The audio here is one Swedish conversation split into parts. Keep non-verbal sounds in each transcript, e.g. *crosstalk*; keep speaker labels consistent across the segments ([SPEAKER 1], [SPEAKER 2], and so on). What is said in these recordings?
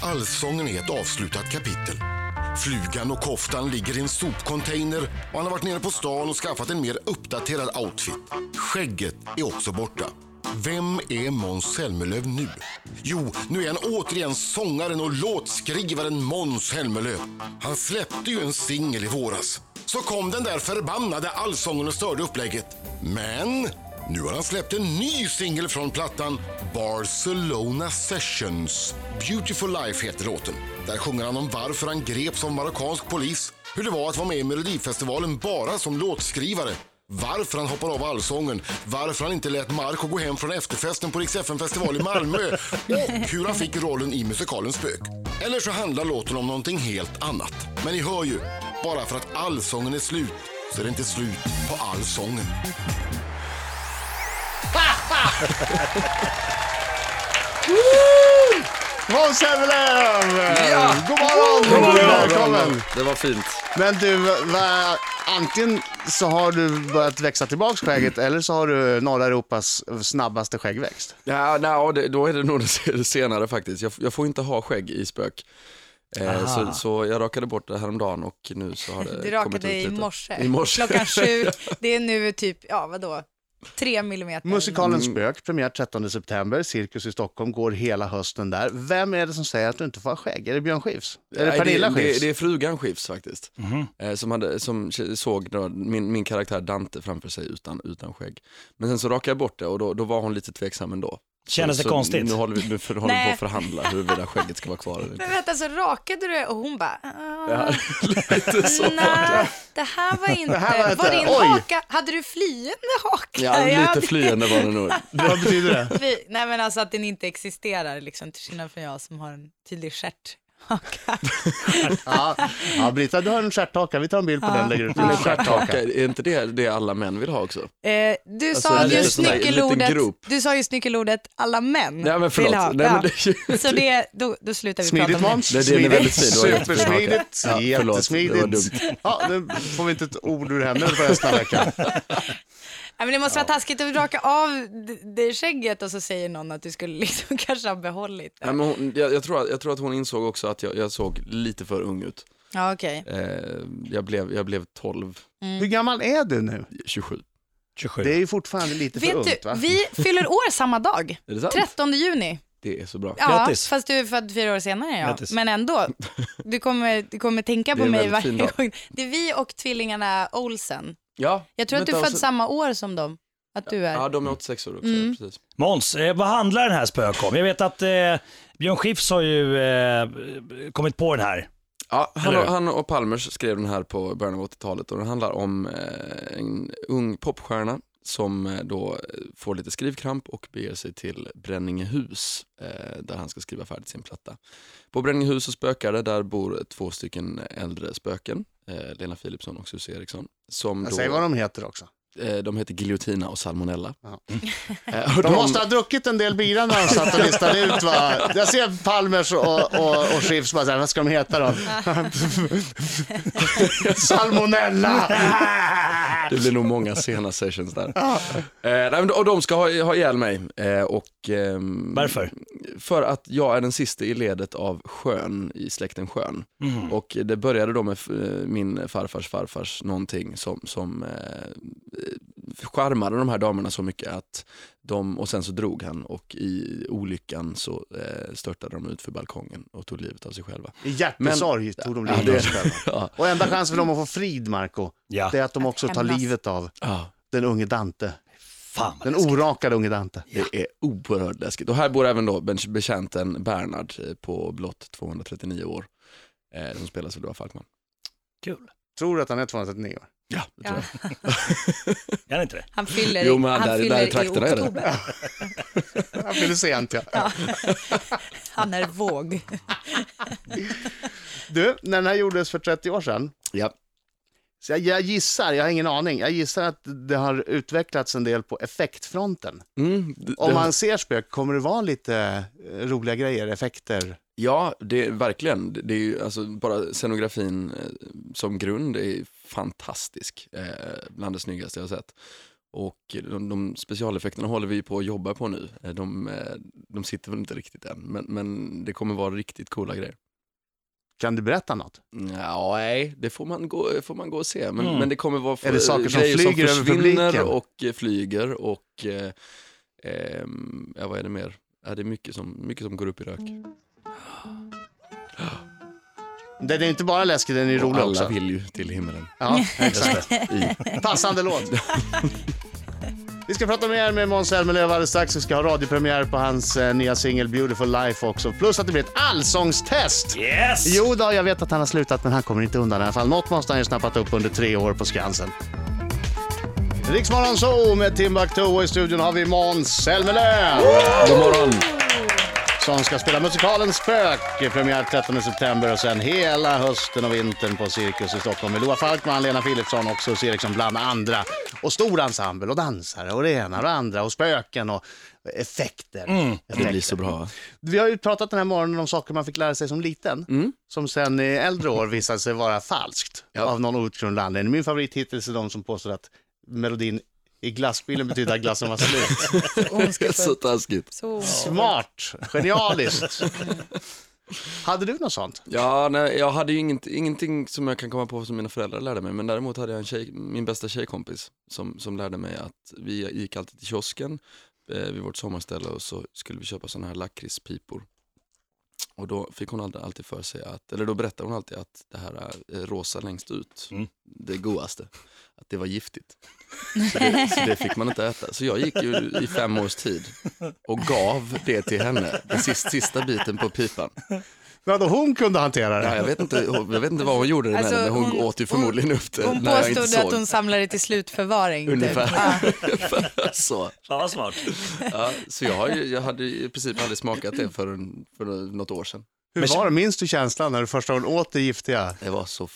[SPEAKER 1] Allsången är ett avslutat kapitel. Flugan och koftan ligger i en sopcontainer och han har varit nere på stan och skaffat en mer uppdaterad outfit. Skägget är också borta. Vem är Måns Zelmerlöw nu? Jo, nu är han återigen sångaren och låtskrivaren Måns Zelmerlöw. Han släppte ju en singel i våras. Så kom den där förbannade allsången och störde upplägget. Men nu har han släppt en ny singel från plattan Barcelona Sessions. Beautiful Life heter låten. Där sjunger han om varför han greps av marockansk polis, hur det var att vara med i Melodifestivalen bara som låtskrivare, varför han hoppar av allsången, varför han inte lät Marco gå hem från efterfesten på Rix festival i Malmö och hur han fick rollen i musikalen Spök. Eller så handlar låten om någonting helt annat. Men ni hör ju, bara för att allsången är slut så är det inte slut på allsången.
[SPEAKER 2] Måns Zelmerlöw!
[SPEAKER 3] Ja!
[SPEAKER 2] God morgon!
[SPEAKER 3] Det var bra,
[SPEAKER 2] Välkommen!
[SPEAKER 3] Det var fint.
[SPEAKER 2] Men du, va, antingen så har du börjat växa tillbaks skägget eller så har du norra Europas snabbaste skäggväxt.
[SPEAKER 3] Ja, nej, det, då är det nog *laughs* det senare faktiskt. Jag, jag får inte ha skägg i spök. Eh, så, så jag rakade bort det häromdagen och nu så har det
[SPEAKER 4] Du
[SPEAKER 3] eh, kommit
[SPEAKER 4] rakade
[SPEAKER 3] ut
[SPEAKER 4] i
[SPEAKER 3] lite.
[SPEAKER 4] morse.
[SPEAKER 3] I morse. *laughs*
[SPEAKER 4] Klockan sju. Det är nu typ, ja vadå, tre millimeter.
[SPEAKER 2] Musikalen Spök, premiär 13 september, Cirkus i Stockholm, går hela hösten där. Vem är det som säger att du inte får ha skägg? Är det Björn Skifs? Är det
[SPEAKER 3] Nej,
[SPEAKER 2] Pernilla
[SPEAKER 3] det, det,
[SPEAKER 2] Skifs?
[SPEAKER 3] det är frugan Skifs faktiskt. Eh, som hade, som k- såg då, min, min karaktär Dante framför sig utan, utan skägg. Men sen så rakade jag bort det och då, då var hon lite tveksam ändå.
[SPEAKER 5] Kändes
[SPEAKER 3] Så-
[SPEAKER 5] det
[SPEAKER 3] så
[SPEAKER 5] konstigt?
[SPEAKER 3] Alltså, Nu håller vi, nu för, håller vi på
[SPEAKER 4] Nej.
[SPEAKER 3] att förhandla huruvida skägget ska vara kvar eller inte. *laughs*
[SPEAKER 4] *laughs* Men vänta, så rakade du och hon bara, "Ah,
[SPEAKER 3] Ja, lite så var det.
[SPEAKER 4] nej, det här
[SPEAKER 3] *laughs*
[SPEAKER 4] var inte,
[SPEAKER 2] här var
[SPEAKER 4] var,
[SPEAKER 2] inte-
[SPEAKER 4] din
[SPEAKER 2] oj.
[SPEAKER 4] haka, hade du flyende haka? Jag
[SPEAKER 3] Ja,
[SPEAKER 4] hade-
[SPEAKER 3] lite
[SPEAKER 4] *laughs*
[SPEAKER 3] flyende var det nog.
[SPEAKER 2] Vad betyder det?
[SPEAKER 4] Fly, nej men alltså att den inte existerar liksom, till skillnad från jag som har en
[SPEAKER 3] *laughs*
[SPEAKER 4] tydlig stjärthaka.
[SPEAKER 2] *laughs* Ja, ja Brita, du har en stjärthaka. Vi tar en bild på den och lägger ut den.
[SPEAKER 3] Stjärthaka, är inte det det alla män vill ha också?
[SPEAKER 4] Eh, du,
[SPEAKER 3] Alltså,
[SPEAKER 4] sa
[SPEAKER 3] det är
[SPEAKER 4] just
[SPEAKER 3] sån där liten
[SPEAKER 4] nyckelordet,
[SPEAKER 3] grop.
[SPEAKER 4] du sa just nyckelordet alla män
[SPEAKER 3] Nej men
[SPEAKER 4] vill ha.
[SPEAKER 3] förlåt. Nej,
[SPEAKER 4] Ja.
[SPEAKER 3] men det, är ju-
[SPEAKER 4] Så det, då, då slutar vi
[SPEAKER 2] Smidigt
[SPEAKER 4] prata om
[SPEAKER 2] Måns.
[SPEAKER 3] Nej, den är
[SPEAKER 2] Smidigt.
[SPEAKER 3] väldigt fin. Det var jättefin haka.
[SPEAKER 2] Supersmidigt.
[SPEAKER 3] Ja, förlåt. Det var
[SPEAKER 2] Jättesmidigt.
[SPEAKER 3] dumt.
[SPEAKER 2] Ja, nu får vi inte ett ord ur henne på resten av veckan.
[SPEAKER 4] det. Nej, men det måste vara taskigt att raka av d- det skägget och så säger någon att du skulle *laughs* liksom kanske ha behållit
[SPEAKER 3] Nej,
[SPEAKER 4] det.
[SPEAKER 3] men hon, jag, jag, tror att, jag tror att hon insåg också att jag, jag såg lite för ung ut.
[SPEAKER 4] Ja, okej.
[SPEAKER 3] Eh, jag, blev, jag blev 12,
[SPEAKER 2] Mm. Hur gammal är du nu?
[SPEAKER 3] 27.
[SPEAKER 5] 27.
[SPEAKER 2] Det är ju fortfarande lite för
[SPEAKER 4] Vet
[SPEAKER 2] ungt
[SPEAKER 4] du,
[SPEAKER 2] va?
[SPEAKER 4] vi fyller år
[SPEAKER 3] *laughs*
[SPEAKER 4] samma dag.
[SPEAKER 3] Är det sant?
[SPEAKER 4] 13 juni.
[SPEAKER 3] Det är så bra.
[SPEAKER 4] Ja,
[SPEAKER 5] Grattis.
[SPEAKER 4] fast du är född fyra år senare än jag.
[SPEAKER 5] Grattis.
[SPEAKER 3] *laughs*
[SPEAKER 4] Men ändå, du kommer, du kommer tänka
[SPEAKER 3] Det är
[SPEAKER 4] på
[SPEAKER 3] en
[SPEAKER 4] mig
[SPEAKER 3] väldigt fin
[SPEAKER 4] varje
[SPEAKER 3] dag.
[SPEAKER 4] gång. Det är vi och tvillingarna Olsen.
[SPEAKER 3] Ja,
[SPEAKER 4] Jag tror att du
[SPEAKER 3] vänta,
[SPEAKER 4] är född
[SPEAKER 3] så-
[SPEAKER 4] samma år som dem. Att du är.
[SPEAKER 3] Ja, de är 86 år också.
[SPEAKER 4] Mm.
[SPEAKER 3] Precis.
[SPEAKER 5] Måns, eh, vad handlar den här spök om? Jag vet att eh, Björn Skifs har ju eh, kommit på den här.
[SPEAKER 3] Ja, han,
[SPEAKER 5] Eller
[SPEAKER 3] och,
[SPEAKER 5] hur?
[SPEAKER 3] han och Palmers skrev den här på början av 80-talet och den handlar om eh, en ung popstjärna som eh, då eh, får lite skrivkramp och beger sig till Bränningehus eh, där han ska skriva färdigt sin platta. På Bränningehus så spökar det, där bor två stycken äldre spöken, eh, Lena Philipsson och Susie Eriksson. Som
[SPEAKER 2] Jag
[SPEAKER 3] då,
[SPEAKER 2] säger vad de heter också.
[SPEAKER 3] eh, de heter Giljotina och Salmonella.
[SPEAKER 2] Ja. *laughs*
[SPEAKER 3] Eh, och
[SPEAKER 2] De måste ha druckit en del bira när de satt och listade ut va. Jag ser Palmers och, och, och Schiffs bara så här, vad ska de heta
[SPEAKER 4] *laughs*
[SPEAKER 2] då? Salmonella!
[SPEAKER 3] Det blir nog många sena sessions där. Eh, nej, men- och de ska ha, ha ihjäl mig. Eh, och, ehm,
[SPEAKER 5] Varför?
[SPEAKER 3] För att jag är den sista i ledet av Sjön i släkten Sjön. Och det började då med eh, min farfars farfars någonting som, som eh, charmade de här damerna så mycket att de, och sen så drog han och i olyckan så eh, störtade de ut för balkongen och tog livet av sig själva.
[SPEAKER 2] I hjärtesorg tog de
[SPEAKER 3] Ja,
[SPEAKER 2] livet av sig själva.
[SPEAKER 3] det, ja,
[SPEAKER 2] Och enda chansen för dem att få frid, Marco,
[SPEAKER 5] Ja.
[SPEAKER 2] det är att de också tar
[SPEAKER 4] hämnas.
[SPEAKER 2] livet av
[SPEAKER 3] ja,
[SPEAKER 2] den unge Dante.
[SPEAKER 5] Fan vad
[SPEAKER 2] Den
[SPEAKER 5] läskigt.
[SPEAKER 2] orakade unge Dante.
[SPEAKER 3] det är oerhört läskigt. Och här bor även då ben- betjänten Bernhard eh, på blott 239 år. Eh, som spelas av Loa Falkman.
[SPEAKER 5] Kul.
[SPEAKER 2] Tror du att han är 239 år?
[SPEAKER 3] Ja, det tror jag.
[SPEAKER 5] Är han inte det?
[SPEAKER 4] Han fyller,
[SPEAKER 3] Jo, men
[SPEAKER 4] han
[SPEAKER 3] där- där i
[SPEAKER 4] fyller
[SPEAKER 3] trakterna
[SPEAKER 4] i
[SPEAKER 3] är det.
[SPEAKER 4] oktober.
[SPEAKER 2] Han fyller sent ja.
[SPEAKER 4] Han är
[SPEAKER 3] *laughs*
[SPEAKER 4] våg.
[SPEAKER 2] Du, när den här gjordes för 30 år sedan,
[SPEAKER 3] Ja.
[SPEAKER 2] så jag, jag gissar, jag har ingen aning, jag gissar att det har utvecklats en del på effektfronten.
[SPEAKER 3] Mm, d-
[SPEAKER 2] Om
[SPEAKER 3] det-
[SPEAKER 2] man ser spök, kommer det vara lite eh, roliga grejer, effekter?
[SPEAKER 3] Ja, det, verkligen. Det det är ju, alltså, bara scenografin eh, som grund är fantastisk. Eh, bland det snyggaste jag har sett. Och de, de specialeffekterna håller vi på att jobba på nu. Eh, De, eh, de sitter väl inte riktigt än, men, men det kommer vara riktigt coola grejer.
[SPEAKER 2] Kan du berätta något?
[SPEAKER 3] Ja, nej, det får man gå, får man gå och se. Men,
[SPEAKER 5] Mm.
[SPEAKER 3] men det kommer vara
[SPEAKER 2] Är det saker som
[SPEAKER 3] grejer
[SPEAKER 2] flyger över
[SPEAKER 3] försvinner
[SPEAKER 2] publiken?
[SPEAKER 3] och eh, flyger och eh, ehm, ja, vad är det mer? Ja, det är mycket som, mycket som går upp i rök.
[SPEAKER 2] Den är inte bara läskig, den är
[SPEAKER 3] Och
[SPEAKER 2] rolig
[SPEAKER 3] alla
[SPEAKER 2] också.
[SPEAKER 3] vill ju
[SPEAKER 2] *laughs*
[SPEAKER 3] till himmelen.
[SPEAKER 2] Ja,
[SPEAKER 5] Just det.
[SPEAKER 3] I.
[SPEAKER 2] passande
[SPEAKER 3] *laughs*
[SPEAKER 2] låt. Vi ska prata mer med Måns Zelmerlöw alldeles strax. Vi ska ha radiopremiär på hans eh, nya singel Beautiful Life också. Plus att det blir ett allsångstest!
[SPEAKER 5] Yes!
[SPEAKER 2] Jo då, jag vet att han har slutat, men han kommer inte undan i alla fall. Något måste han ju snappat upp under tre år på Skansen. Riksmorgon så med Timbuktu och i studion har vi Måns Zelmerlöw
[SPEAKER 3] God morgon!
[SPEAKER 2] som ska spela musikalen Spök. Premiär 13 september och sen hela hösten och vintern på Cirkus i Stockholm med Loa Falkman, Lena Philipsson och Sus Eriksson bland andra. Och stor ensemble och dansare och det ena och det andra och spöken och effekter.
[SPEAKER 3] Mm. Det
[SPEAKER 2] effekter.
[SPEAKER 3] blir så bra.
[SPEAKER 2] Vi har ju pratat den här morgonen om saker man fick lära sig som liten, som sen i äldre år visade sig vara falskt av någon outgrundlig anledning. Min favorit hittills är de som påstår att melodin i glassbilen betyder att glassen var *laughs* slut.
[SPEAKER 3] Så taskigt.
[SPEAKER 4] Så.
[SPEAKER 2] Smart, genialiskt. Hade du något sånt?
[SPEAKER 3] Ja, nej, jag hade ju inget, ingenting som jag kan komma på som mina föräldrar lärde mig, men däremot hade jag en tjej, min bästa tjejkompis som, som lärde mig att vi gick alltid till kiosken eh, vid vårt sommarställe och så skulle vi köpa sådana här lakritspipor. Och då fick hon alltid, alltid för sig att, eller då berättade hon alltid att det här eh, rosa längst ut,
[SPEAKER 5] Mm.
[SPEAKER 3] det godaste, att det var giftigt. Så det, så det fick man inte äta. Så jag gick ju i fem års tid och gav det till henne, den sista, sista biten på pipan.
[SPEAKER 2] Vadå, hon kunde hantera det?
[SPEAKER 3] Ja, jag, vet inte, jag vet inte vad hon gjorde det med
[SPEAKER 4] Alltså,
[SPEAKER 3] det, men hon,
[SPEAKER 4] hon-
[SPEAKER 3] åt ju förmodligen upp det
[SPEAKER 4] Hon
[SPEAKER 3] när jag inte
[SPEAKER 4] påstod
[SPEAKER 3] såg.
[SPEAKER 4] att hon samlade till slutförvaring. typ.
[SPEAKER 3] Ungefär.
[SPEAKER 4] Ja. Ah.
[SPEAKER 3] *laughs* så
[SPEAKER 5] Fan vad smart.
[SPEAKER 3] ja, så jag, har ju, jag hade ju i princip aldrig smakat det förrän för något år sedan.
[SPEAKER 2] Hur var det? Minns du känslan när du första gången åt det giftiga?
[SPEAKER 3] Det var så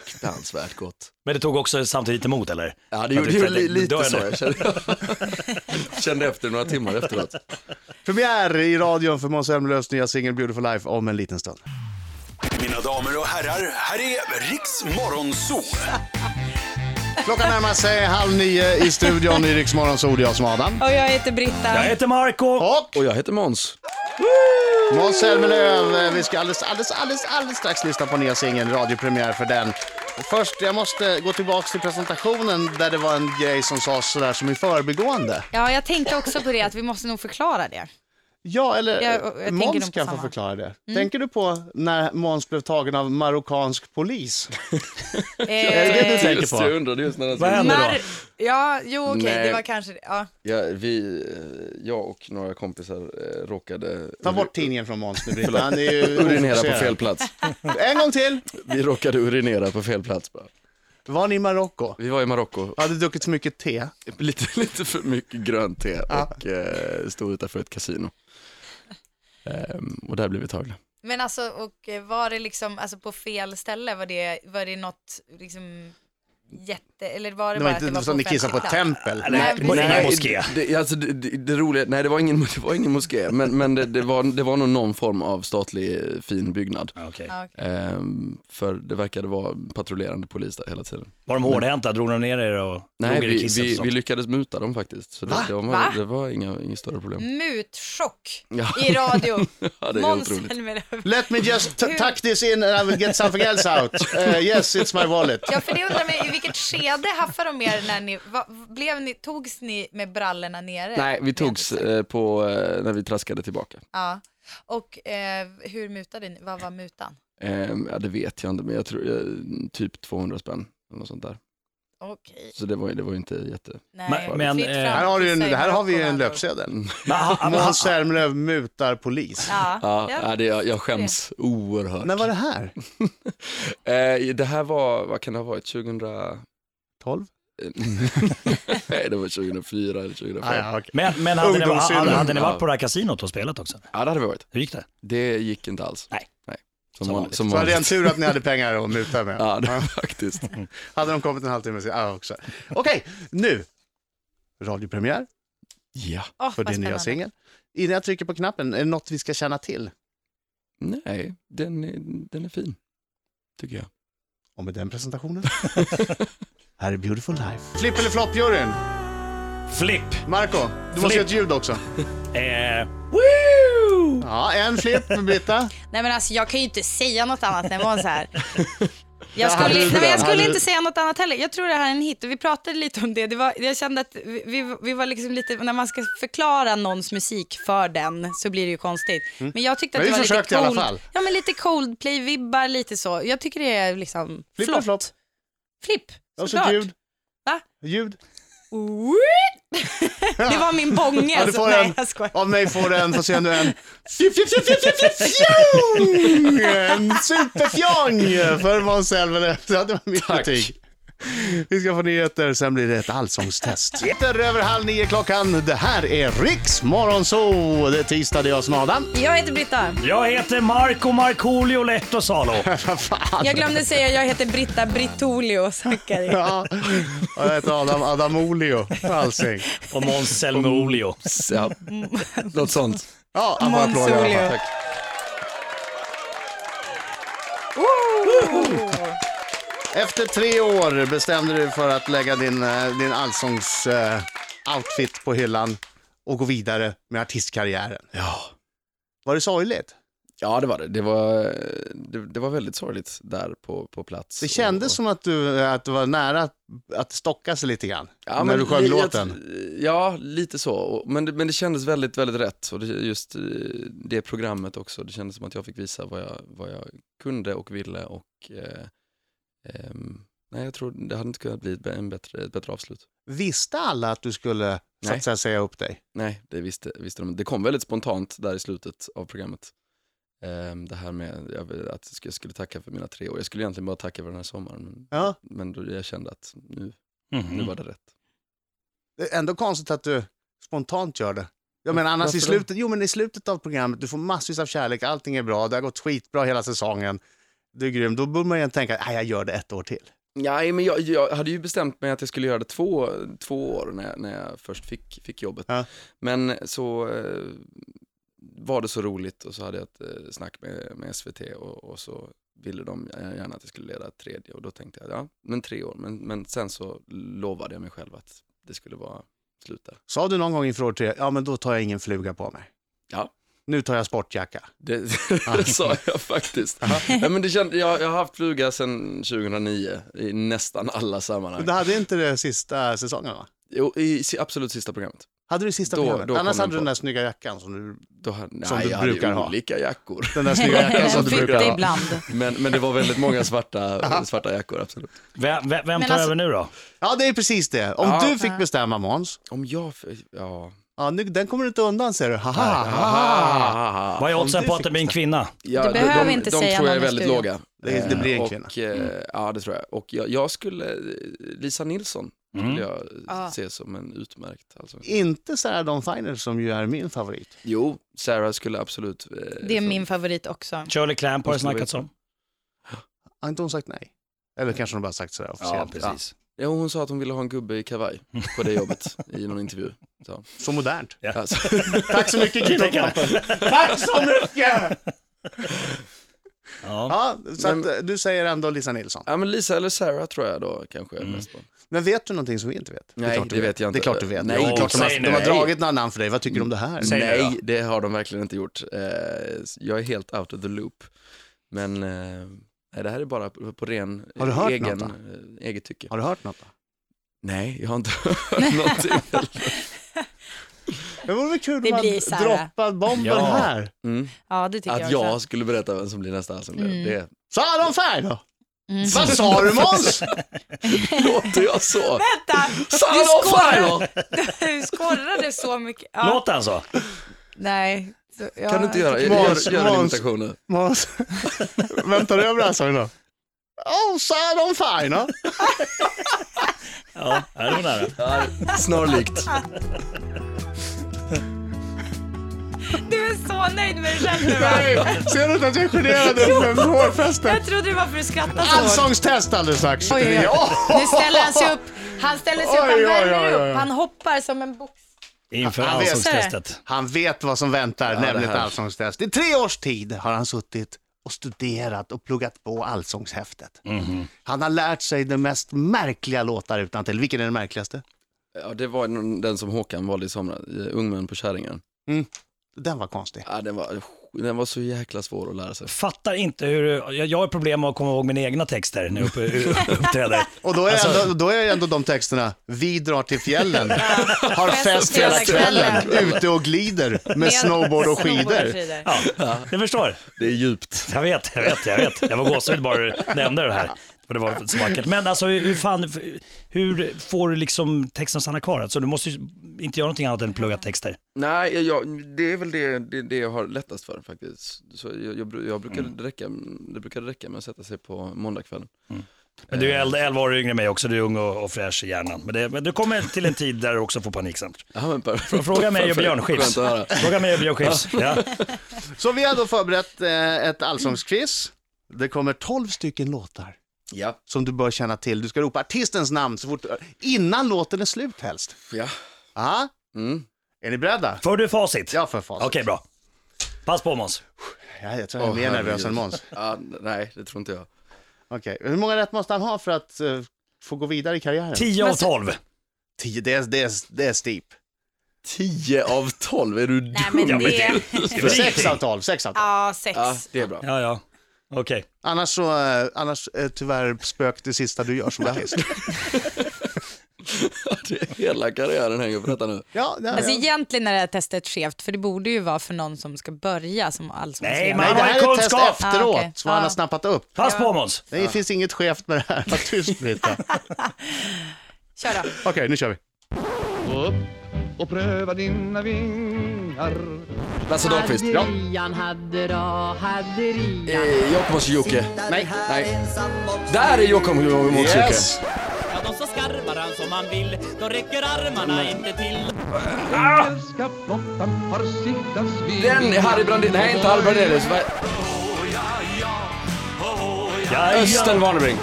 [SPEAKER 3] fruktansvärt gott.
[SPEAKER 5] Men det tog också samtidigt emot eller?
[SPEAKER 3] Ja, det
[SPEAKER 5] Att
[SPEAKER 3] gjorde
[SPEAKER 5] du
[SPEAKER 3] ju
[SPEAKER 5] kände,
[SPEAKER 3] li,
[SPEAKER 5] "Nu
[SPEAKER 3] lite
[SPEAKER 5] dör jag
[SPEAKER 3] så.
[SPEAKER 5] nu."
[SPEAKER 3] Jag kände, kände *laughs* efter några timmar efteråt.
[SPEAKER 2] Premiär i radion för Måns Zelmerlöws nya singel Beautiful Life om en liten stund.
[SPEAKER 6] Mina damer och herrar, här är Riks Morgonzoo.
[SPEAKER 2] Klockan närmar sig halv nio i studion i Rix Morgon, så är det jag som är Adam.
[SPEAKER 4] Och jag heter Britta.
[SPEAKER 5] Jag heter Marco.
[SPEAKER 2] Och
[SPEAKER 3] Och jag heter Måns.
[SPEAKER 2] Måns Zelmerlöw, eh, vi ska alldeles, alldeles, alldeles, alldeles strax lyssna på nya singeln, radiopremiär för den. Först, jag måste gå tillbaka till presentationen där det var en grej som sades sådär som i förbigående.
[SPEAKER 4] Ja, jag tänkte också på det, att vi måste nog
[SPEAKER 2] *laughs*
[SPEAKER 4] förklara det.
[SPEAKER 2] Ja, eller
[SPEAKER 4] Jag- jag tänker
[SPEAKER 2] eh,
[SPEAKER 4] nog
[SPEAKER 2] Måns kan få
[SPEAKER 4] på samma. Mm.
[SPEAKER 2] förklara det. Tänker du på när Måns blev tagen av marockansk polis? Är det det du tänker
[SPEAKER 3] Just det, jag
[SPEAKER 2] på?
[SPEAKER 3] undrade just när den
[SPEAKER 5] Vad
[SPEAKER 3] skulle-
[SPEAKER 5] hände då?
[SPEAKER 4] Eh, Mar- ja, jo okej,
[SPEAKER 3] Nej.
[SPEAKER 4] det var kanske det. Ja.
[SPEAKER 3] ja, vi, eh, Jag och några kompisar eh, råkade
[SPEAKER 2] Ta bort tidningen från Måns nu Britta, han
[SPEAKER 3] *laughs*
[SPEAKER 2] är ju
[SPEAKER 3] urinera på
[SPEAKER 2] ofokuserad. *laughs*
[SPEAKER 3] fel plats.
[SPEAKER 2] En gång till!
[SPEAKER 3] Vi råkade urinera på fel plats bara.
[SPEAKER 2] Var ni i Marocko?
[SPEAKER 3] Vi var i Marocko, Ah,
[SPEAKER 2] Hade druckit så mycket te?
[SPEAKER 3] lite, *laughs* lite för mycket grönt te och eh, stod utanför ett kasino. Ehm, och där blev vi tagna.
[SPEAKER 4] Men alltså, och eh, var det liksom, alltså på fel ställe, var det, var det något liksom jätte, eller var det,
[SPEAKER 2] Det var
[SPEAKER 4] bara att det
[SPEAKER 2] inte
[SPEAKER 4] var
[SPEAKER 2] som ni kissade på ett
[SPEAKER 4] offentlig
[SPEAKER 2] tempel.
[SPEAKER 4] Nej,
[SPEAKER 5] det var
[SPEAKER 4] precis.
[SPEAKER 5] ingen moské.
[SPEAKER 3] Det, alltså, det, det, det roliga, nej det var ingen, *laughs* det var ingen moské, men, men det, det, var, det var nog någon form av statlig eh, fin byggnad.
[SPEAKER 5] Ja, Okej.
[SPEAKER 4] plats? Ja, okej.
[SPEAKER 3] Ehm, för det verkade vara patrullerande polis där hela tiden.
[SPEAKER 5] Var de hårdhänta? Drog de ner er och
[SPEAKER 3] Nej,
[SPEAKER 5] drog er i
[SPEAKER 3] vi,
[SPEAKER 5] kisset? och
[SPEAKER 3] vi,
[SPEAKER 5] sånt?
[SPEAKER 3] vi lyckades muta dem faktiskt. Så det, det,
[SPEAKER 4] Va?
[SPEAKER 3] var, det var inga, inga större problem.
[SPEAKER 4] Mutchock
[SPEAKER 3] *laughs* Ja.
[SPEAKER 4] i
[SPEAKER 2] *laughs*
[SPEAKER 4] radio.
[SPEAKER 3] Ja, det är
[SPEAKER 4] Måns
[SPEAKER 3] otroligt.
[SPEAKER 4] Zelmerlöw.
[SPEAKER 2] Let me just t- tuck this in and I will get something else out. Eh, yes, it's my wallet.
[SPEAKER 4] Ja, för det undrar mig, i vilket skede haffade de er när ni, va, blev ni, togs ni med brallorna nere?
[SPEAKER 3] Nej, vi togs eh, på, eh, när vi traskade tillbaka.
[SPEAKER 4] Ja. Och eh, hur mutade ni, vad var mutan?
[SPEAKER 3] Ehm, ja, det vet jag inte, men jag tror eh, typ 200 spänn. Eller något sånt där.
[SPEAKER 4] Okej,
[SPEAKER 3] Så det var, ju- det var ju inte jätte...
[SPEAKER 4] nej.
[SPEAKER 5] Men- men,
[SPEAKER 4] fritt
[SPEAKER 5] eh,
[SPEAKER 4] fram,
[SPEAKER 2] Här har, du ju en,
[SPEAKER 4] kissa i
[SPEAKER 2] här har vi ju en
[SPEAKER 4] Marocko,
[SPEAKER 2] löpsedel.
[SPEAKER 5] Men ha- ha-
[SPEAKER 2] Måns Zelmerlöw mutar polis.
[SPEAKER 4] Ja,
[SPEAKER 3] Ja,
[SPEAKER 4] ja.
[SPEAKER 3] ja. Det, jag, jag skäms oerhört.
[SPEAKER 2] När var det här?
[SPEAKER 3] Eh, det här var, vad kan det ha varit, 2000... Nej,
[SPEAKER 2] 12?
[SPEAKER 3] det var 2004 eller 2005.
[SPEAKER 2] Ah,
[SPEAKER 3] ja.
[SPEAKER 2] ja, okej.
[SPEAKER 5] Men, men hade, ni,
[SPEAKER 2] Ungdomssynden.
[SPEAKER 5] hade, hade ni
[SPEAKER 3] Ja.
[SPEAKER 5] varit på det här kasinot och spelat också?
[SPEAKER 3] det hade vi varit.
[SPEAKER 5] Hur gick det?
[SPEAKER 3] Det gick inte alls.
[SPEAKER 5] Nej.
[SPEAKER 3] Nej. Som,
[SPEAKER 5] Som
[SPEAKER 3] van-
[SPEAKER 5] vanligt.
[SPEAKER 3] som
[SPEAKER 2] Så var det
[SPEAKER 3] vanligt.
[SPEAKER 2] en tur att ni hade pengar att muta med.
[SPEAKER 3] Ja, det var faktiskt.
[SPEAKER 2] Hade de kommit en halvtimme sen, ah, också. Okej, nu. Radiopremiär
[SPEAKER 3] Ja.
[SPEAKER 4] Åh,
[SPEAKER 2] för
[SPEAKER 4] vad
[SPEAKER 2] din nya
[SPEAKER 4] spännande.
[SPEAKER 2] singel. Innan jag trycker på knappen, är det något vi ska känna till?
[SPEAKER 3] Nej, den är, den är fin. Tycker jag. *laughs*
[SPEAKER 2] Och med den presentationen, här är Beautiful Life. Flipp eller flopp-juryn?
[SPEAKER 5] Flipp.
[SPEAKER 2] Marco, du måste göra ett ljud också.
[SPEAKER 5] Eh, woo!
[SPEAKER 2] Ja, en flipp, Britta.
[SPEAKER 4] Nej men alltså jag kan ju inte säga något annat än vad
[SPEAKER 2] *laughs*
[SPEAKER 4] så här. Jag
[SPEAKER 2] Ja, hade
[SPEAKER 4] skulle,
[SPEAKER 2] du
[SPEAKER 4] nej, men
[SPEAKER 2] den?
[SPEAKER 4] jag skulle
[SPEAKER 2] Hade
[SPEAKER 4] inte
[SPEAKER 2] du-
[SPEAKER 4] säga något annat heller. Jag tror det här är en hit och vi pratade lite om det. det var, jag kände att vi- vi, vi var liksom lite, när man ska förklara någons musik för den så blir det ju konstigt. Men jag tyckte att
[SPEAKER 2] Mm. Men vi
[SPEAKER 4] det var lite
[SPEAKER 2] försökte i alla
[SPEAKER 4] cold,
[SPEAKER 2] fall.
[SPEAKER 4] Ja men lite Coldplay-vibbar, lite så. Jag tycker det är liksom
[SPEAKER 2] Flipp eller
[SPEAKER 4] flott.
[SPEAKER 2] flopp?
[SPEAKER 4] Flipp,
[SPEAKER 2] Och så ett
[SPEAKER 4] såklart.
[SPEAKER 2] ljud.
[SPEAKER 4] Va?
[SPEAKER 2] Ljud.
[SPEAKER 4] *laughs* Det
[SPEAKER 2] *laughs*
[SPEAKER 4] var min bånge.
[SPEAKER 2] Ja, du
[SPEAKER 4] alltså.
[SPEAKER 2] får
[SPEAKER 4] Nej,
[SPEAKER 2] en.
[SPEAKER 4] jag skojar.
[SPEAKER 2] Av mig får du en, får se nu
[SPEAKER 4] *laughs*
[SPEAKER 2] en. Fju, fju, fju, fju, fju, fju, fjong! En superfjong för Måns Zelmerlöw. Ja, Det var mitt
[SPEAKER 3] Tack.
[SPEAKER 2] betyg. Vi ska få nyheter, sen blir det ett allsångstest. Nyheter över halv nio klockan. Det här är Riks Morgonzoo. Det är tisdag, det är jag som är Adam.
[SPEAKER 4] Jag heter Britta.
[SPEAKER 5] Jag heter Marco Markoolio Lehto Salo.
[SPEAKER 2] Vad fan?
[SPEAKER 4] Jag glömde säga jag heter Britta
[SPEAKER 2] *laughs*
[SPEAKER 4] Brittolio Zackari.
[SPEAKER 2] Ja, och jag heter Adam Adamolio Alsing.
[SPEAKER 5] Och Måns Zelmerlöw.
[SPEAKER 3] Ja. Något sånt.
[SPEAKER 2] Ja, han får applåder i alla fall.
[SPEAKER 4] Monsolio.
[SPEAKER 2] Tack. Efter tre år bestämde du för att lägga din, eh, din allsångs-outfit på hyllan och gå vidare med artistkarriären.
[SPEAKER 3] Ja.
[SPEAKER 2] Var det sorgligt?
[SPEAKER 3] Ja, det var det. Det var, eh, det, det var väldigt sorgligt där på, på plats.
[SPEAKER 2] Det kändes som att du, eh, att du var nära att- att stocka sig lite grann
[SPEAKER 3] Ja,
[SPEAKER 2] när
[SPEAKER 3] men
[SPEAKER 2] du sjöng
[SPEAKER 3] jag- jag-
[SPEAKER 2] låten.
[SPEAKER 3] Ja, lite så. Och- Men det, men det kändes väldigt, väldigt rätt. Och det, just eh, det programmet också, det kändes som att jag fick visa vad jag, vad jag kunde och ville. Och, eh, ehm, nej, jag tror det hade inte kunnat bli ett bä- en bättre, ett bättre avslut.
[SPEAKER 2] Visste alla att du skulle så
[SPEAKER 3] Nej.
[SPEAKER 2] att säga, säga upp dig?
[SPEAKER 3] Nej, det visste, visste de. Det kom väldigt spontant där i slutet av programmet. Ehm, det här med jag, vill- att jag skulle- jag skulle tacka för mina tre år. Jag skulle egentligen bara tacka för den här sommaren. Men,
[SPEAKER 2] Ja.
[SPEAKER 3] men då, jag kände att nu, nu
[SPEAKER 5] Mhm.
[SPEAKER 3] var Mm, det rätt.
[SPEAKER 2] Det är ändå konstigt att du spontant gör det. Jag menar annars i
[SPEAKER 3] Varför då?
[SPEAKER 2] slutet, jo, men i slutet av programmet, du får massvis av kärlek, allting är bra, det har gått skitbra hela säsongen, du är grym. Då borde man ju tänka, nej jag gör det ett år till.
[SPEAKER 3] Nej, men jag, jag hade ju bestämt mig att jag skulle göra det två, två år när jag, när jag först fick, fick jobbet.
[SPEAKER 2] Ja.
[SPEAKER 3] Men så eh, var det så roligt och så hade jag ett eh, snack med, med SVT och, och så ville de gärna att jag skulle leda ett tredje och då tänkte jag, ja, men tre år. Men, men sen så lovade jag mig själv att det skulle vara slut där.
[SPEAKER 2] Sa du någon gång inför år tre, ja men då tar jag ingen fluga på mig.
[SPEAKER 3] Ja. Ah.
[SPEAKER 2] Nu tar jag sportjacka.
[SPEAKER 3] Det, *laughs* det sa jag faktiskt. Nej, men det känd, jag, jag har haft fluga sedan 2009 i nästan alla sammanhang.
[SPEAKER 2] Men du hade inte det sista säsongen va?
[SPEAKER 3] Jo, i si- absolut sista programmet.
[SPEAKER 2] Hade du det sista
[SPEAKER 3] Då-
[SPEAKER 2] programmet?
[SPEAKER 3] då kom
[SPEAKER 2] Annars
[SPEAKER 3] den
[SPEAKER 2] hade du
[SPEAKER 3] på.
[SPEAKER 2] den där snygga jackan som du,
[SPEAKER 3] Då, hade-
[SPEAKER 2] Som
[SPEAKER 3] nej,
[SPEAKER 2] du
[SPEAKER 3] jag hade
[SPEAKER 2] brukar
[SPEAKER 3] ju
[SPEAKER 2] ha. *laughs*
[SPEAKER 3] olika jackor.
[SPEAKER 2] den där
[SPEAKER 3] *laughs*
[SPEAKER 2] snygga jackan som
[SPEAKER 4] Jag
[SPEAKER 2] du
[SPEAKER 4] fick
[SPEAKER 2] brukar
[SPEAKER 4] det
[SPEAKER 2] ha.
[SPEAKER 4] ibland.
[SPEAKER 3] Men, men det var väldigt
[SPEAKER 2] *laughs*
[SPEAKER 3] många svarta, svarta jackor, absolut.
[SPEAKER 5] Vem, vem, vem
[SPEAKER 4] Men
[SPEAKER 5] tar
[SPEAKER 4] alltså-
[SPEAKER 5] över nu då?
[SPEAKER 2] Ja det är precis det. Om
[SPEAKER 3] Ja.
[SPEAKER 2] du fick bestämma Måns,
[SPEAKER 3] Om jag... f- Ja.
[SPEAKER 2] ja, nu, den kommer du inte undan ser du. Haha,
[SPEAKER 5] Vad är oddsen
[SPEAKER 2] du
[SPEAKER 5] på att
[SPEAKER 2] fick
[SPEAKER 5] det blir en kvinna?
[SPEAKER 3] Ah! Ja,
[SPEAKER 4] Du
[SPEAKER 3] de-
[SPEAKER 4] behöver
[SPEAKER 3] de,
[SPEAKER 4] inte
[SPEAKER 3] de
[SPEAKER 4] säga
[SPEAKER 3] tror jag är
[SPEAKER 4] någon i
[SPEAKER 3] väldigt
[SPEAKER 4] studion. Mm.
[SPEAKER 3] låga.
[SPEAKER 2] Det- det blir en
[SPEAKER 3] Eh, och,
[SPEAKER 2] kvinna.
[SPEAKER 3] eh, Ja, det tror jag. Och jag, jag skulle... Lisa Nilsson
[SPEAKER 2] Mm.
[SPEAKER 3] skulle jag
[SPEAKER 4] Ah.
[SPEAKER 3] se som en utmärkt. Alltså.
[SPEAKER 2] Inte Sarah Dawn Finer som ju är min favorit.
[SPEAKER 3] Jo, Sarah skulle absolut... eh,
[SPEAKER 4] Det är
[SPEAKER 3] fun-
[SPEAKER 4] min favorit också.
[SPEAKER 5] Shirley Clamp har det
[SPEAKER 3] Måste vi
[SPEAKER 5] snackats om.
[SPEAKER 2] Har inte hon sagt nej? Eller kanske hon bara sagt sådär officiellt.
[SPEAKER 3] Ja, hon sa att hon ville ha en gubbe i kavaj på det jobbet i någon intervju.
[SPEAKER 2] *laughs*
[SPEAKER 3] Så.
[SPEAKER 2] Ja, så modernt.
[SPEAKER 3] Alltså,
[SPEAKER 2] Tack så mycket
[SPEAKER 3] *laughs*
[SPEAKER 2] Killkampen. Tack så mycket! Ja,
[SPEAKER 5] Ja.
[SPEAKER 2] så att, eh, du säger ändå Lisa Nilsson.
[SPEAKER 3] ja, men Lisa eller Sarah tror jag då kanske
[SPEAKER 2] Mm.
[SPEAKER 3] är mest på.
[SPEAKER 2] Men vet du någonting som vi inte vet?
[SPEAKER 3] Nej,
[SPEAKER 2] klart du
[SPEAKER 3] det vet jag inte.
[SPEAKER 2] Det är klart du vet.
[SPEAKER 3] Nej,
[SPEAKER 2] det är klart de,
[SPEAKER 5] säg
[SPEAKER 2] har,
[SPEAKER 5] nu.
[SPEAKER 2] de har
[SPEAKER 5] Nej.
[SPEAKER 2] dragit några namn för dig. Vad tycker du om det här?
[SPEAKER 5] Säg nu
[SPEAKER 3] Nej,
[SPEAKER 5] då.
[SPEAKER 3] det har de verkligen inte gjort. Eh, jag är helt out of the loop. Men eh, nej, det här är bara på, på ren
[SPEAKER 2] Har du hört
[SPEAKER 3] egen,
[SPEAKER 2] något
[SPEAKER 3] eh, eget tycke.
[SPEAKER 2] Har du hört något? Då?
[SPEAKER 3] Nej, jag har inte *laughs* hört någonting.
[SPEAKER 2] Det vore väl kul
[SPEAKER 4] Det
[SPEAKER 2] om man
[SPEAKER 4] blir Sarah.
[SPEAKER 2] droppade bomben
[SPEAKER 5] Ja.
[SPEAKER 2] här.
[SPEAKER 3] Mm.
[SPEAKER 4] Ja, det tycker
[SPEAKER 3] Att
[SPEAKER 4] jag
[SPEAKER 3] jag
[SPEAKER 4] också.
[SPEAKER 3] skulle berätta vem som blir nästa allsångare, det
[SPEAKER 2] Sarah Dawn Finer!
[SPEAKER 4] Mm.
[SPEAKER 2] Vad sa du
[SPEAKER 4] *laughs*
[SPEAKER 2] Måns?
[SPEAKER 3] låter jag så.
[SPEAKER 4] Vänta,
[SPEAKER 3] Sanna
[SPEAKER 4] Du
[SPEAKER 3] och
[SPEAKER 4] skålar.
[SPEAKER 3] Fire!
[SPEAKER 4] du skorrade så mycket. Ja,
[SPEAKER 5] Låt alltså. den så.
[SPEAKER 4] Nej. Så, ja.
[SPEAKER 3] Kan du inte göra,
[SPEAKER 2] Måns,
[SPEAKER 3] gör, gör en
[SPEAKER 2] Måns.
[SPEAKER 3] imitation nu?
[SPEAKER 2] Måns. *laughs* Vem tar över allsången då? Oh, Sarah Dawn Finer!
[SPEAKER 5] Ja, är det var nära.
[SPEAKER 3] Ja,
[SPEAKER 2] *laughs*
[SPEAKER 3] Snarlikt.
[SPEAKER 4] Du är så nöjd med
[SPEAKER 2] *laughs*
[SPEAKER 4] dig själv nu va?
[SPEAKER 2] Nej, ser du inte att jag är generad över hårfästet?
[SPEAKER 4] Jag trodde det var för att skratta så
[SPEAKER 2] Alltså-
[SPEAKER 4] hårt.
[SPEAKER 2] Allsångstest alldeles strax.
[SPEAKER 4] Oj, oj, oj. Nu ställer han sig upp. Han ställer sig upp,
[SPEAKER 2] Oj,
[SPEAKER 4] han
[SPEAKER 2] oj,
[SPEAKER 4] värmer
[SPEAKER 2] oj, oj.
[SPEAKER 4] upp, han hoppar som en box.
[SPEAKER 5] Inför
[SPEAKER 2] Han vet.
[SPEAKER 5] allsångstestet.
[SPEAKER 2] Han vet vad som väntar, nämligen
[SPEAKER 3] det
[SPEAKER 2] ett
[SPEAKER 3] här.
[SPEAKER 2] allsångstest. I tre års tid har han suttit och studerat och pluggat på Mhm. allsångshäftet. Han har lärt sig de mest märkliga låtar utan till. Vilken är den märkligaste?
[SPEAKER 3] Ja, det var någon- den som Håkan valde i somras, eh, Ungmän på Kärringen.
[SPEAKER 2] Den var konstig.
[SPEAKER 3] Ja, den, var, den var så jäkla svår att lära sig.
[SPEAKER 5] Fattar inte hur, jag, jag har problem med att komma ihåg mina egna texter när jag upp, uppträder.
[SPEAKER 2] Och då är, ändå, då är ändå de texterna, vi drar till *laughs* fjällen, har
[SPEAKER 4] Fest
[SPEAKER 2] fest hela kvällen, ute och glider med snowboard
[SPEAKER 4] *laughs*
[SPEAKER 2] och skidor.
[SPEAKER 5] Ja, jag förstår.
[SPEAKER 3] Det är djupt.
[SPEAKER 5] Jag vet, jag vet, jag vet. Jag var gåshud bara du nämnde det här. För det var så vackert. Men alltså hur hur fan, hur får du liksom texten att stanna kvar? Alltså du måste ju inte göra någonting annat än plugga texter.
[SPEAKER 3] Nej, jag- jag, det är väl det, det, det jag har lättast för faktiskt. Så jag, jag, bru- jag brukar räcka, det brukade räcka med att sätta sig på måndagskvällen.
[SPEAKER 5] Men du är el- 11 år yngre än mig också, du är ung och, och fräsch i hjärnan. Men, det, men du kommer till en tid där du också får panik sen.
[SPEAKER 3] Ja, men per, *laughs*
[SPEAKER 5] Fråga mig och Björn Skifs.
[SPEAKER 3] Skönt att höra.
[SPEAKER 5] Fråga mig och Björn Skifs. Ja.
[SPEAKER 2] Så vi har då förberett eh, ett allsångsquiz. Det kommer 12 stycken låtar
[SPEAKER 3] Ja,
[SPEAKER 2] som du bör känna till. Du ska ropa artistens namn så fort, innan låten är slut helst.
[SPEAKER 3] ja.
[SPEAKER 2] Aha.
[SPEAKER 3] Mm.
[SPEAKER 2] Ah. Är ni beredda?
[SPEAKER 5] Får du facit?
[SPEAKER 2] Ja, för fan.
[SPEAKER 5] Okej, bra. Pass på Måns.
[SPEAKER 2] Ja, jag tror jag är
[SPEAKER 3] Åh,
[SPEAKER 2] mer nervös
[SPEAKER 3] herregud.
[SPEAKER 2] än Måns.
[SPEAKER 3] ja. Nej, det tror inte jag.
[SPEAKER 2] Okej, hur många rätt måste han ha för att eh, få gå vidare i karriären?
[SPEAKER 5] 10 av 12.
[SPEAKER 2] Tio, det är, det är, det är steep.
[SPEAKER 3] 10 av 12, är du dum?
[SPEAKER 4] Nej men det...
[SPEAKER 2] Sex av tolv, sex av tolv.
[SPEAKER 4] Ja, sex.
[SPEAKER 3] Ja, det är bra.
[SPEAKER 5] Ja, ja. Okej.
[SPEAKER 2] Annars så, eh, annars eh, tyvärr spök det sista du gör *laughs* som artist.
[SPEAKER 3] *laughs* Det, hela karriären hänger på detta nu.
[SPEAKER 2] Ja, ja,
[SPEAKER 4] Alltså
[SPEAKER 2] ja.
[SPEAKER 4] egentligen är det här testet skevt för det borde ju vara för någon som ska börja som
[SPEAKER 5] Nej,
[SPEAKER 4] allsångslärare.
[SPEAKER 5] men-
[SPEAKER 2] Nej, det här är ett test
[SPEAKER 5] Kunskap!
[SPEAKER 2] efteråt,
[SPEAKER 4] Ah, okej.
[SPEAKER 2] som han har
[SPEAKER 4] Ah.
[SPEAKER 2] snappat upp.
[SPEAKER 5] Pass på Måns.
[SPEAKER 2] Det finns inget skevt med det här. Var tyst *laughs* Britta. Okej,
[SPEAKER 4] Kör då.
[SPEAKER 2] nu kör vi.
[SPEAKER 7] och pröva dina vingar.
[SPEAKER 3] Lasse Dahlqvist. Ja.
[SPEAKER 8] Hadderian, haddera, hadderian.
[SPEAKER 3] Eh, Jokkmokks Jocke.
[SPEAKER 2] Nej.
[SPEAKER 3] Nej. Där är Jokkmokks Jocke.
[SPEAKER 2] Yes!
[SPEAKER 9] Ja, de så skarvar han som han vill, då räcker armarna inte till.
[SPEAKER 7] Älska flottan har siktats vid
[SPEAKER 3] Den är Harry Brandelius. Nej, inte Harry Brandelius. Vad-
[SPEAKER 5] Ja,
[SPEAKER 3] Östen
[SPEAKER 5] ja.
[SPEAKER 3] Warnerbring.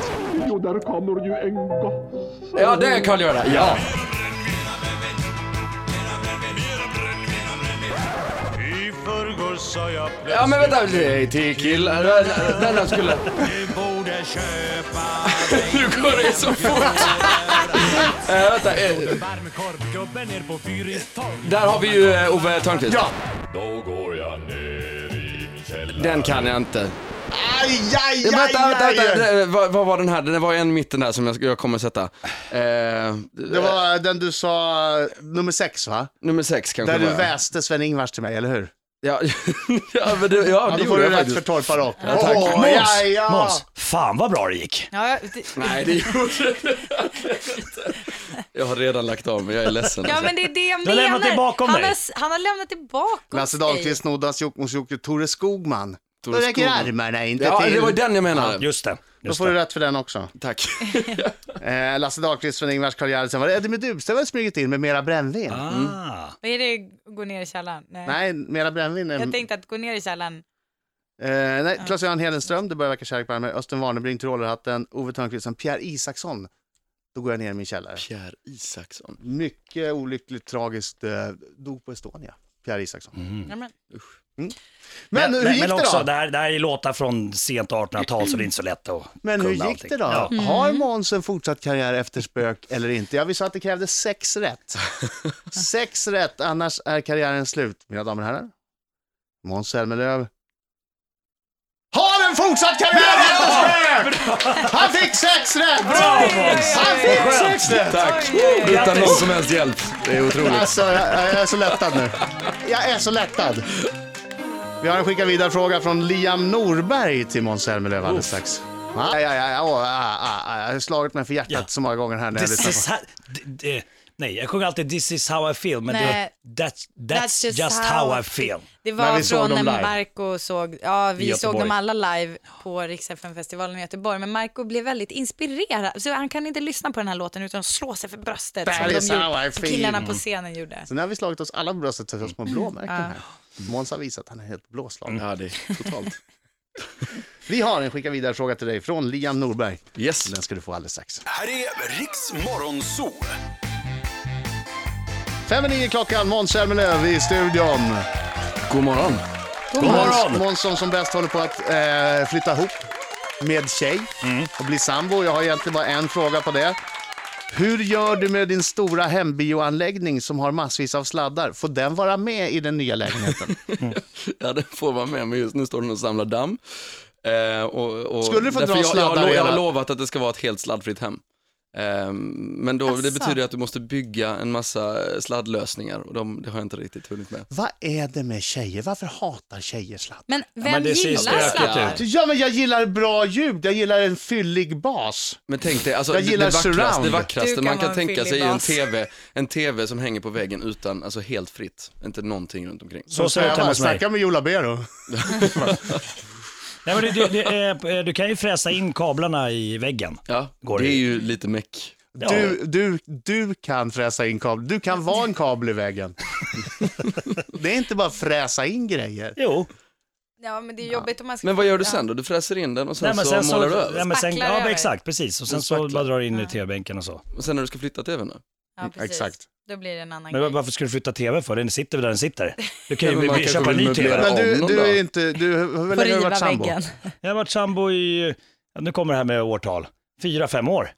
[SPEAKER 7] Jo, där kommer ju en gång.
[SPEAKER 3] Ja, det är Karl-Göran. Ja.
[SPEAKER 10] I förrgår sa jag
[SPEAKER 3] Ja, men vänta. Nej, Till killar. Den- Den
[SPEAKER 2] *laughs*
[SPEAKER 3] här skulle...
[SPEAKER 10] plötsligt borde köpa
[SPEAKER 3] Nu går det så fort. *laughs* Eh, vänta. eh,
[SPEAKER 10] varmkorv. Gubben är på Fyristorg.
[SPEAKER 3] Där har vi ju eh, Ove Thörnqvist. Ja.
[SPEAKER 10] Då går jag ner i källaren.
[SPEAKER 3] Den kan jag inte.
[SPEAKER 2] Aj, aj,
[SPEAKER 3] Ja,
[SPEAKER 2] aj,
[SPEAKER 3] vänta, vänta,
[SPEAKER 2] aj,
[SPEAKER 3] vänta.
[SPEAKER 2] aj.
[SPEAKER 3] Eh, Vad, vad var den här? Det var en mitten där som jag, jag kommer sätta. Eh,
[SPEAKER 2] Det var den du sa, eh, nummer sex va?
[SPEAKER 3] nummer sex kanske
[SPEAKER 2] Där du
[SPEAKER 3] var.
[SPEAKER 2] väste Sven-Ingvars till mig, eller hur?
[SPEAKER 3] Ja, *laughs* ja, men det, ja,
[SPEAKER 2] Ja,
[SPEAKER 3] det
[SPEAKER 2] då får
[SPEAKER 3] gjorde
[SPEAKER 2] du
[SPEAKER 3] jag
[SPEAKER 2] rätt för
[SPEAKER 3] faktiskt.
[SPEAKER 2] torpa rakt.
[SPEAKER 3] tack.
[SPEAKER 2] Åh,
[SPEAKER 5] Måns,
[SPEAKER 2] ja, ja.
[SPEAKER 5] Måns, fan vad bra det gick.
[SPEAKER 4] Ja, det...
[SPEAKER 3] Nej, det gjorde du inte. Jag har redan lagt av mig, jag är ledsen. Alltså.
[SPEAKER 4] ja men det är det jag
[SPEAKER 5] Du har
[SPEAKER 4] menar.
[SPEAKER 5] lämnat det bakom
[SPEAKER 4] han,
[SPEAKER 5] dig.
[SPEAKER 4] har, s- han har lämnat det bakom
[SPEAKER 2] Lasse
[SPEAKER 4] sig.
[SPEAKER 2] Dahlqvist, Nordans, Jokkmokks Jocke, Tore Skogman.
[SPEAKER 3] Tore
[SPEAKER 2] Då räcker
[SPEAKER 3] Skogman.
[SPEAKER 2] armarna inte
[SPEAKER 3] Ja,
[SPEAKER 2] till.
[SPEAKER 3] det var den jag menade.
[SPEAKER 5] Just det.
[SPEAKER 2] Då
[SPEAKER 5] Just
[SPEAKER 2] får du
[SPEAKER 5] det.
[SPEAKER 2] rätt för den också.
[SPEAKER 3] Tack.
[SPEAKER 2] Eh, Lasse Dahlqvist, Sven-Ingvars, Karl Gerhardsen. Var det Eddie Meduza har smugit in med mera brännvin?
[SPEAKER 5] Ah.
[SPEAKER 4] Vad är det, gå ner i källaren? Nej.
[SPEAKER 2] Nej, mera brännvin. är-
[SPEAKER 4] Jag tänkte att gå ner i källaren.
[SPEAKER 2] Eh, nej, Claes-Göran Hedenström, det börjar verka kärlek på armen. Östen Warnerbring, Tyrolerhatten, Ove Thörnqvist, Pierre Isaksson. Då går jag ner i min källare.
[SPEAKER 3] Pierre Isaksson.
[SPEAKER 2] Mycket olyckligt, tragiskt, eh, dog på Estonia. Pierre Isaksson. Mm.
[SPEAKER 4] Ja, men.
[SPEAKER 2] Men, hur gick
[SPEAKER 5] men
[SPEAKER 2] det
[SPEAKER 5] också,
[SPEAKER 2] då?
[SPEAKER 5] Det här, det här är låtar från sent 1800-tal så det är inte så lätt att
[SPEAKER 2] Men hur
[SPEAKER 5] kunna
[SPEAKER 2] gick
[SPEAKER 5] allting.
[SPEAKER 2] det då?
[SPEAKER 5] Ja.
[SPEAKER 2] Har Måns en fortsatt karriär efter spök eller inte? Ja, vi sa att det krävdes sex rätt. sex rätt, annars är karriären slut. Mina damer och herrar, Måns Zelmerlöw har en fortsatt karriär efter spök! Han fick sex rätt! Han fick sex rätt!
[SPEAKER 3] Tack! Utan
[SPEAKER 5] Grattis.
[SPEAKER 3] någon som helst hjälp. Det är otroligt.
[SPEAKER 2] Alltså, jag, jag är så lättad nu. Jag är så lättad. Vi har en skicka vidare fråga från Liam Norberg till Måns Zelmerlöw alldeles strax. Aj, aj, aj, aj, åh, aj, aj, aj. Jag har slagit mig för hjärtat
[SPEAKER 5] Ja.
[SPEAKER 2] så många gånger här när jag
[SPEAKER 5] This
[SPEAKER 2] lyssnar
[SPEAKER 5] is
[SPEAKER 2] på.
[SPEAKER 5] how, d- d- nej, jag sjunger alltid This is how I feel, men
[SPEAKER 4] Nej.
[SPEAKER 5] det, that's, that's, just, how I feel.
[SPEAKER 4] Det
[SPEAKER 2] När
[SPEAKER 4] var
[SPEAKER 2] vi såg
[SPEAKER 4] från
[SPEAKER 2] dem
[SPEAKER 4] när
[SPEAKER 2] live.
[SPEAKER 4] Marco såg, ja vi såg
[SPEAKER 5] Göteborg.
[SPEAKER 4] dem alla live på Rix festivalen i Göteborg, men Marco blev väldigt inspirerad, så han kan inte lyssna på den här låten utan att slå sig för bröstet
[SPEAKER 2] That
[SPEAKER 4] som,
[SPEAKER 2] is
[SPEAKER 4] de
[SPEAKER 2] how I
[SPEAKER 4] gjorde, som
[SPEAKER 2] feel.
[SPEAKER 4] killarna på scenen gjorde.
[SPEAKER 2] Så nu har vi slagit oss alla på bröstet för små blåmärken här. Måns har visat att han är helt blåslagen.
[SPEAKER 3] Ja, det är totalt.
[SPEAKER 2] Vi har en skicka vidare fråga till dig från Liam Norberg.
[SPEAKER 3] Yes.
[SPEAKER 2] Den ska du få alldeles strax.
[SPEAKER 6] Här är Riks Morgonzoo.
[SPEAKER 2] Fem och nio klockan, Måns Zelmerlöw i studion.
[SPEAKER 3] God morgon.
[SPEAKER 2] God
[SPEAKER 5] morgon.
[SPEAKER 2] Måns som som bäst håller på att eh,
[SPEAKER 5] Mm.
[SPEAKER 2] flytta ihop med tjej och bli sambo. Jag har egentligen bara en fråga på det. Hur gör du med din stora hembioanläggning som har massvis av sladdar? Får den vara med i den nya
[SPEAKER 5] *laughs*
[SPEAKER 2] lägenheten?
[SPEAKER 3] Ja, det får vara med mig just nu. står den och samlar damm. Eh, och, och
[SPEAKER 2] Skulle du få
[SPEAKER 3] därför
[SPEAKER 2] dra
[SPEAKER 3] jag, jag, har
[SPEAKER 2] sladdar
[SPEAKER 3] lo- jag har
[SPEAKER 2] hela-
[SPEAKER 3] lovat att det ska vara ett helt sladdfritt hem. Eh, men då,
[SPEAKER 4] Asså.
[SPEAKER 3] det betyder att du måste bygga en massa eh, sladdlösningar och de, det har jag inte riktigt hunnit med.
[SPEAKER 2] Vad är det med tjejer? Varför hatar tjejer sladdar?
[SPEAKER 4] Men vem
[SPEAKER 5] men det ser
[SPEAKER 4] gillar
[SPEAKER 5] stökigt
[SPEAKER 4] sladdar?
[SPEAKER 5] ut.
[SPEAKER 2] Ja, men jag gillar bra ljud. Jag gillar en fyllig bas.
[SPEAKER 3] Men tänk dig, alltså,
[SPEAKER 2] Jag
[SPEAKER 3] det, det
[SPEAKER 2] gillar
[SPEAKER 3] vackraste,
[SPEAKER 2] surround.
[SPEAKER 3] det
[SPEAKER 4] Du
[SPEAKER 3] vackraste
[SPEAKER 4] kan
[SPEAKER 3] man
[SPEAKER 4] vara
[SPEAKER 3] kan
[SPEAKER 4] en
[SPEAKER 3] tänka sig är en
[SPEAKER 4] fillibas.
[SPEAKER 3] TV, en TV som hänger på väggen utan, alltså helt fritt, inte någonting runt omkring.
[SPEAKER 5] Så ser det ut hemma hos mig.
[SPEAKER 2] Snacka med Jola Bero.
[SPEAKER 5] Nej, men du, du, du, eh, du kan ju fräsa in kablarna i väggen.
[SPEAKER 3] Ja,
[SPEAKER 5] Går
[SPEAKER 3] det
[SPEAKER 5] det?
[SPEAKER 3] är ju lite meck.
[SPEAKER 5] Ja.
[SPEAKER 2] Du, du, du kan fräsa in kabel. Du kan vara en kabel i
[SPEAKER 5] *laughs*
[SPEAKER 2] vägen. det är inte bara fräsa in grejer.
[SPEAKER 5] Jo.
[SPEAKER 4] Ja, men det är jobbigt om man ska...
[SPEAKER 3] Men vad gör du
[SPEAKER 4] Ja.
[SPEAKER 3] sen då? Du fräser in den och sen,
[SPEAKER 5] Nej, men sen
[SPEAKER 3] så
[SPEAKER 5] så,
[SPEAKER 3] målar du över?
[SPEAKER 5] ja, men sen,
[SPEAKER 4] Spacklar
[SPEAKER 5] ja, men
[SPEAKER 4] över.
[SPEAKER 5] exakt, precis. Och sen så
[SPEAKER 2] Spacklar.
[SPEAKER 5] bara drar du in i tv-bänken och så.
[SPEAKER 3] Och sen när du ska flytta TVn då?
[SPEAKER 4] Ja, precis.
[SPEAKER 2] Exakt.
[SPEAKER 4] Då blir det en annan
[SPEAKER 5] Men
[SPEAKER 4] grej.
[SPEAKER 5] varför ska du flytta tv för? Den sitter väl där den sitter. Du kan
[SPEAKER 3] Ja, men
[SPEAKER 5] ju
[SPEAKER 3] man
[SPEAKER 5] vi-
[SPEAKER 3] kanske
[SPEAKER 5] köpa en
[SPEAKER 3] vill
[SPEAKER 5] ny tv.
[SPEAKER 3] möblera.
[SPEAKER 2] Men du,
[SPEAKER 3] om dem
[SPEAKER 2] du
[SPEAKER 3] då?
[SPEAKER 2] är inte, du, hur
[SPEAKER 4] Får
[SPEAKER 2] länge har du
[SPEAKER 4] riva
[SPEAKER 2] varit sambo?
[SPEAKER 4] väggen.
[SPEAKER 5] Jag har varit sambo i, ja, nu kommer det här med årtal, fyra,
[SPEAKER 3] *laughs*
[SPEAKER 5] fem år.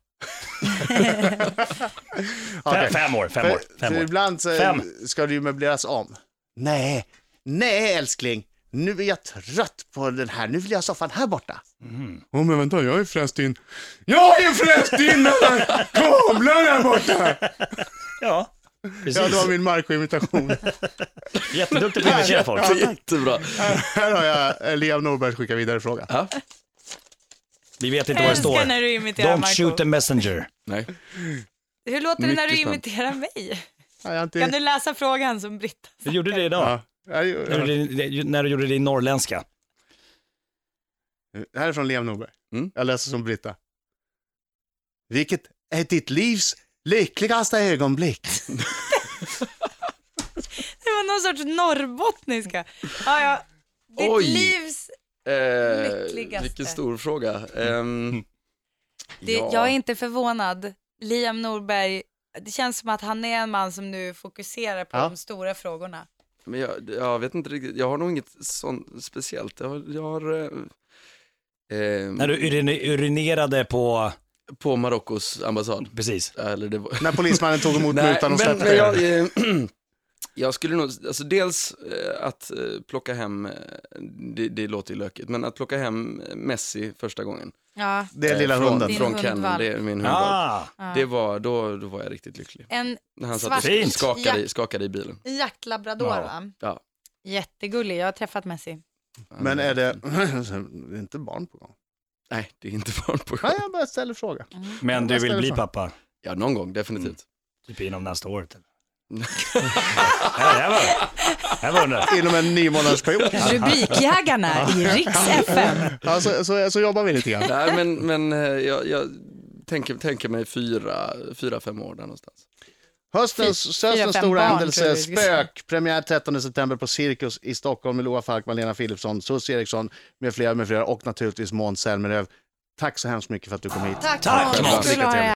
[SPEAKER 2] Okej.
[SPEAKER 5] Fem, fem år, fem
[SPEAKER 2] För-
[SPEAKER 5] år, fem
[SPEAKER 2] för
[SPEAKER 5] år.
[SPEAKER 2] Ibland så
[SPEAKER 5] Fem.
[SPEAKER 2] ska det ju möbleras om. Nej, nej älskling. Nu är jag trött på den här. Nu vill jag ha soffan här borta. Åh, men vänta, jag har ju fräst in... Jag har ju fräst in alla kablar här borta!
[SPEAKER 5] Ja,
[SPEAKER 2] Ja, det
[SPEAKER 5] precis.
[SPEAKER 2] var min markimitation.
[SPEAKER 5] Jätteduktig på att imitera folk.
[SPEAKER 3] Jättebra.
[SPEAKER 2] här har jag Liam Norberg skicka vidare fråga.
[SPEAKER 3] Ja,
[SPEAKER 5] Vi vet inte
[SPEAKER 4] Jag
[SPEAKER 5] vad det står.
[SPEAKER 4] älskar när du imiterar
[SPEAKER 5] Don't shoot
[SPEAKER 4] Marco.
[SPEAKER 5] the messenger.
[SPEAKER 3] nej.
[SPEAKER 4] Hur låter det när du
[SPEAKER 3] Mycket spännande.
[SPEAKER 4] imiterar mig?
[SPEAKER 2] Ja, jag har inte...
[SPEAKER 4] Kan du läsa frågan som Britta? *laughs*
[SPEAKER 5] Du gjorde det idag.
[SPEAKER 2] Ja. Ja, jo,
[SPEAKER 5] När
[SPEAKER 2] ja.
[SPEAKER 5] du, det- när du gjorde det i norrländska.
[SPEAKER 2] Det här är från Liam Norberg.
[SPEAKER 3] Mm.
[SPEAKER 2] Jag läser som Britta. Vilket är ditt livs lyckligaste ögonblick?
[SPEAKER 4] Det var någon sorts norrbottniska. Ja, ja. Ditt
[SPEAKER 3] Oj.
[SPEAKER 4] livs...
[SPEAKER 3] Eh,
[SPEAKER 4] Lyckligaste.
[SPEAKER 3] vilken stor fråga. Ehm,
[SPEAKER 4] Det, Jag är inte förvånad. Liam Norberg, det känns som att han är en man som nu fokuserar på
[SPEAKER 2] Ja.
[SPEAKER 4] de stora frågorna.
[SPEAKER 3] Men jag, jag vet inte riktigt, jag har nog inget sånt speciellt. Jag har, jag har eh, ehm,
[SPEAKER 5] När du urine- urinerade på,
[SPEAKER 3] på Marockos ambassad.
[SPEAKER 5] precis.
[SPEAKER 3] Eller det var...
[SPEAKER 2] När polismannen tog emot
[SPEAKER 3] *laughs* Nej,
[SPEAKER 2] mutan och
[SPEAKER 3] men,
[SPEAKER 2] släppte
[SPEAKER 3] men
[SPEAKER 2] den.
[SPEAKER 3] jag, eh, *clears throat* jag skulle nog, alltså dels eh, att eh, plocka hem, eh, det, det låter ju lökigt, men att plocka hem Messi första gången. Eh,
[SPEAKER 4] Ja.
[SPEAKER 2] Det är lilla
[SPEAKER 3] från,
[SPEAKER 2] hunden.
[SPEAKER 4] Din
[SPEAKER 3] Från kenneln,
[SPEAKER 4] hundvalp.
[SPEAKER 3] det är min
[SPEAKER 2] Mm.
[SPEAKER 3] hundvalp.
[SPEAKER 5] Ah,
[SPEAKER 3] Det var, då, då var jag riktigt lycklig.
[SPEAKER 4] En
[SPEAKER 3] När han satt
[SPEAKER 4] Svart.
[SPEAKER 3] och
[SPEAKER 5] Fint.
[SPEAKER 3] skakade, i-
[SPEAKER 4] Ja.
[SPEAKER 3] skakade i bilen.
[SPEAKER 4] jaktlabrador,
[SPEAKER 5] Ja.
[SPEAKER 4] va?
[SPEAKER 3] Ja.
[SPEAKER 4] Jättegullig. Jag har träffat
[SPEAKER 5] *laughs*
[SPEAKER 4] Messi.
[SPEAKER 3] Mm.
[SPEAKER 2] Men är det, det *laughs* är inte barn på gång?
[SPEAKER 3] Nej, det är inte barn på
[SPEAKER 2] Nej, jag bara ställer fråga.
[SPEAKER 5] men du
[SPEAKER 2] Jag
[SPEAKER 5] vill
[SPEAKER 2] ställer
[SPEAKER 5] bli
[SPEAKER 2] så.
[SPEAKER 5] pappa,
[SPEAKER 3] Ja, någon gång, definitivt.
[SPEAKER 5] typ inom nästa
[SPEAKER 2] *laughs*
[SPEAKER 5] året. eller? Nej, det här var, det här var under.
[SPEAKER 2] Inom en nio månaders period.
[SPEAKER 4] Rubrikjägarna i Riks FM.
[SPEAKER 2] Ja, så, så, så jobbar vi lite grann.
[SPEAKER 3] Nej, men, men eh, jag, jag tänker, tänker mig fyra, fyra, fem år där någonstans.
[SPEAKER 2] Höstens, höstens
[SPEAKER 4] fem
[SPEAKER 2] stora
[SPEAKER 4] barn, tror
[SPEAKER 2] händelse,
[SPEAKER 4] jag vi skulle säga.
[SPEAKER 2] Spök, premiär 13 september på Cirkus i Stockholm med Loa Falkman, Lena Philipsson, Susie Eriksson med flera, med flera och naturligtvis Måns Zelmerlöw. Tack så hemskt mycket för att du kom hit.
[SPEAKER 4] Tack,
[SPEAKER 5] Tack,
[SPEAKER 4] Måns.
[SPEAKER 5] Måns.
[SPEAKER 4] Kul att ha er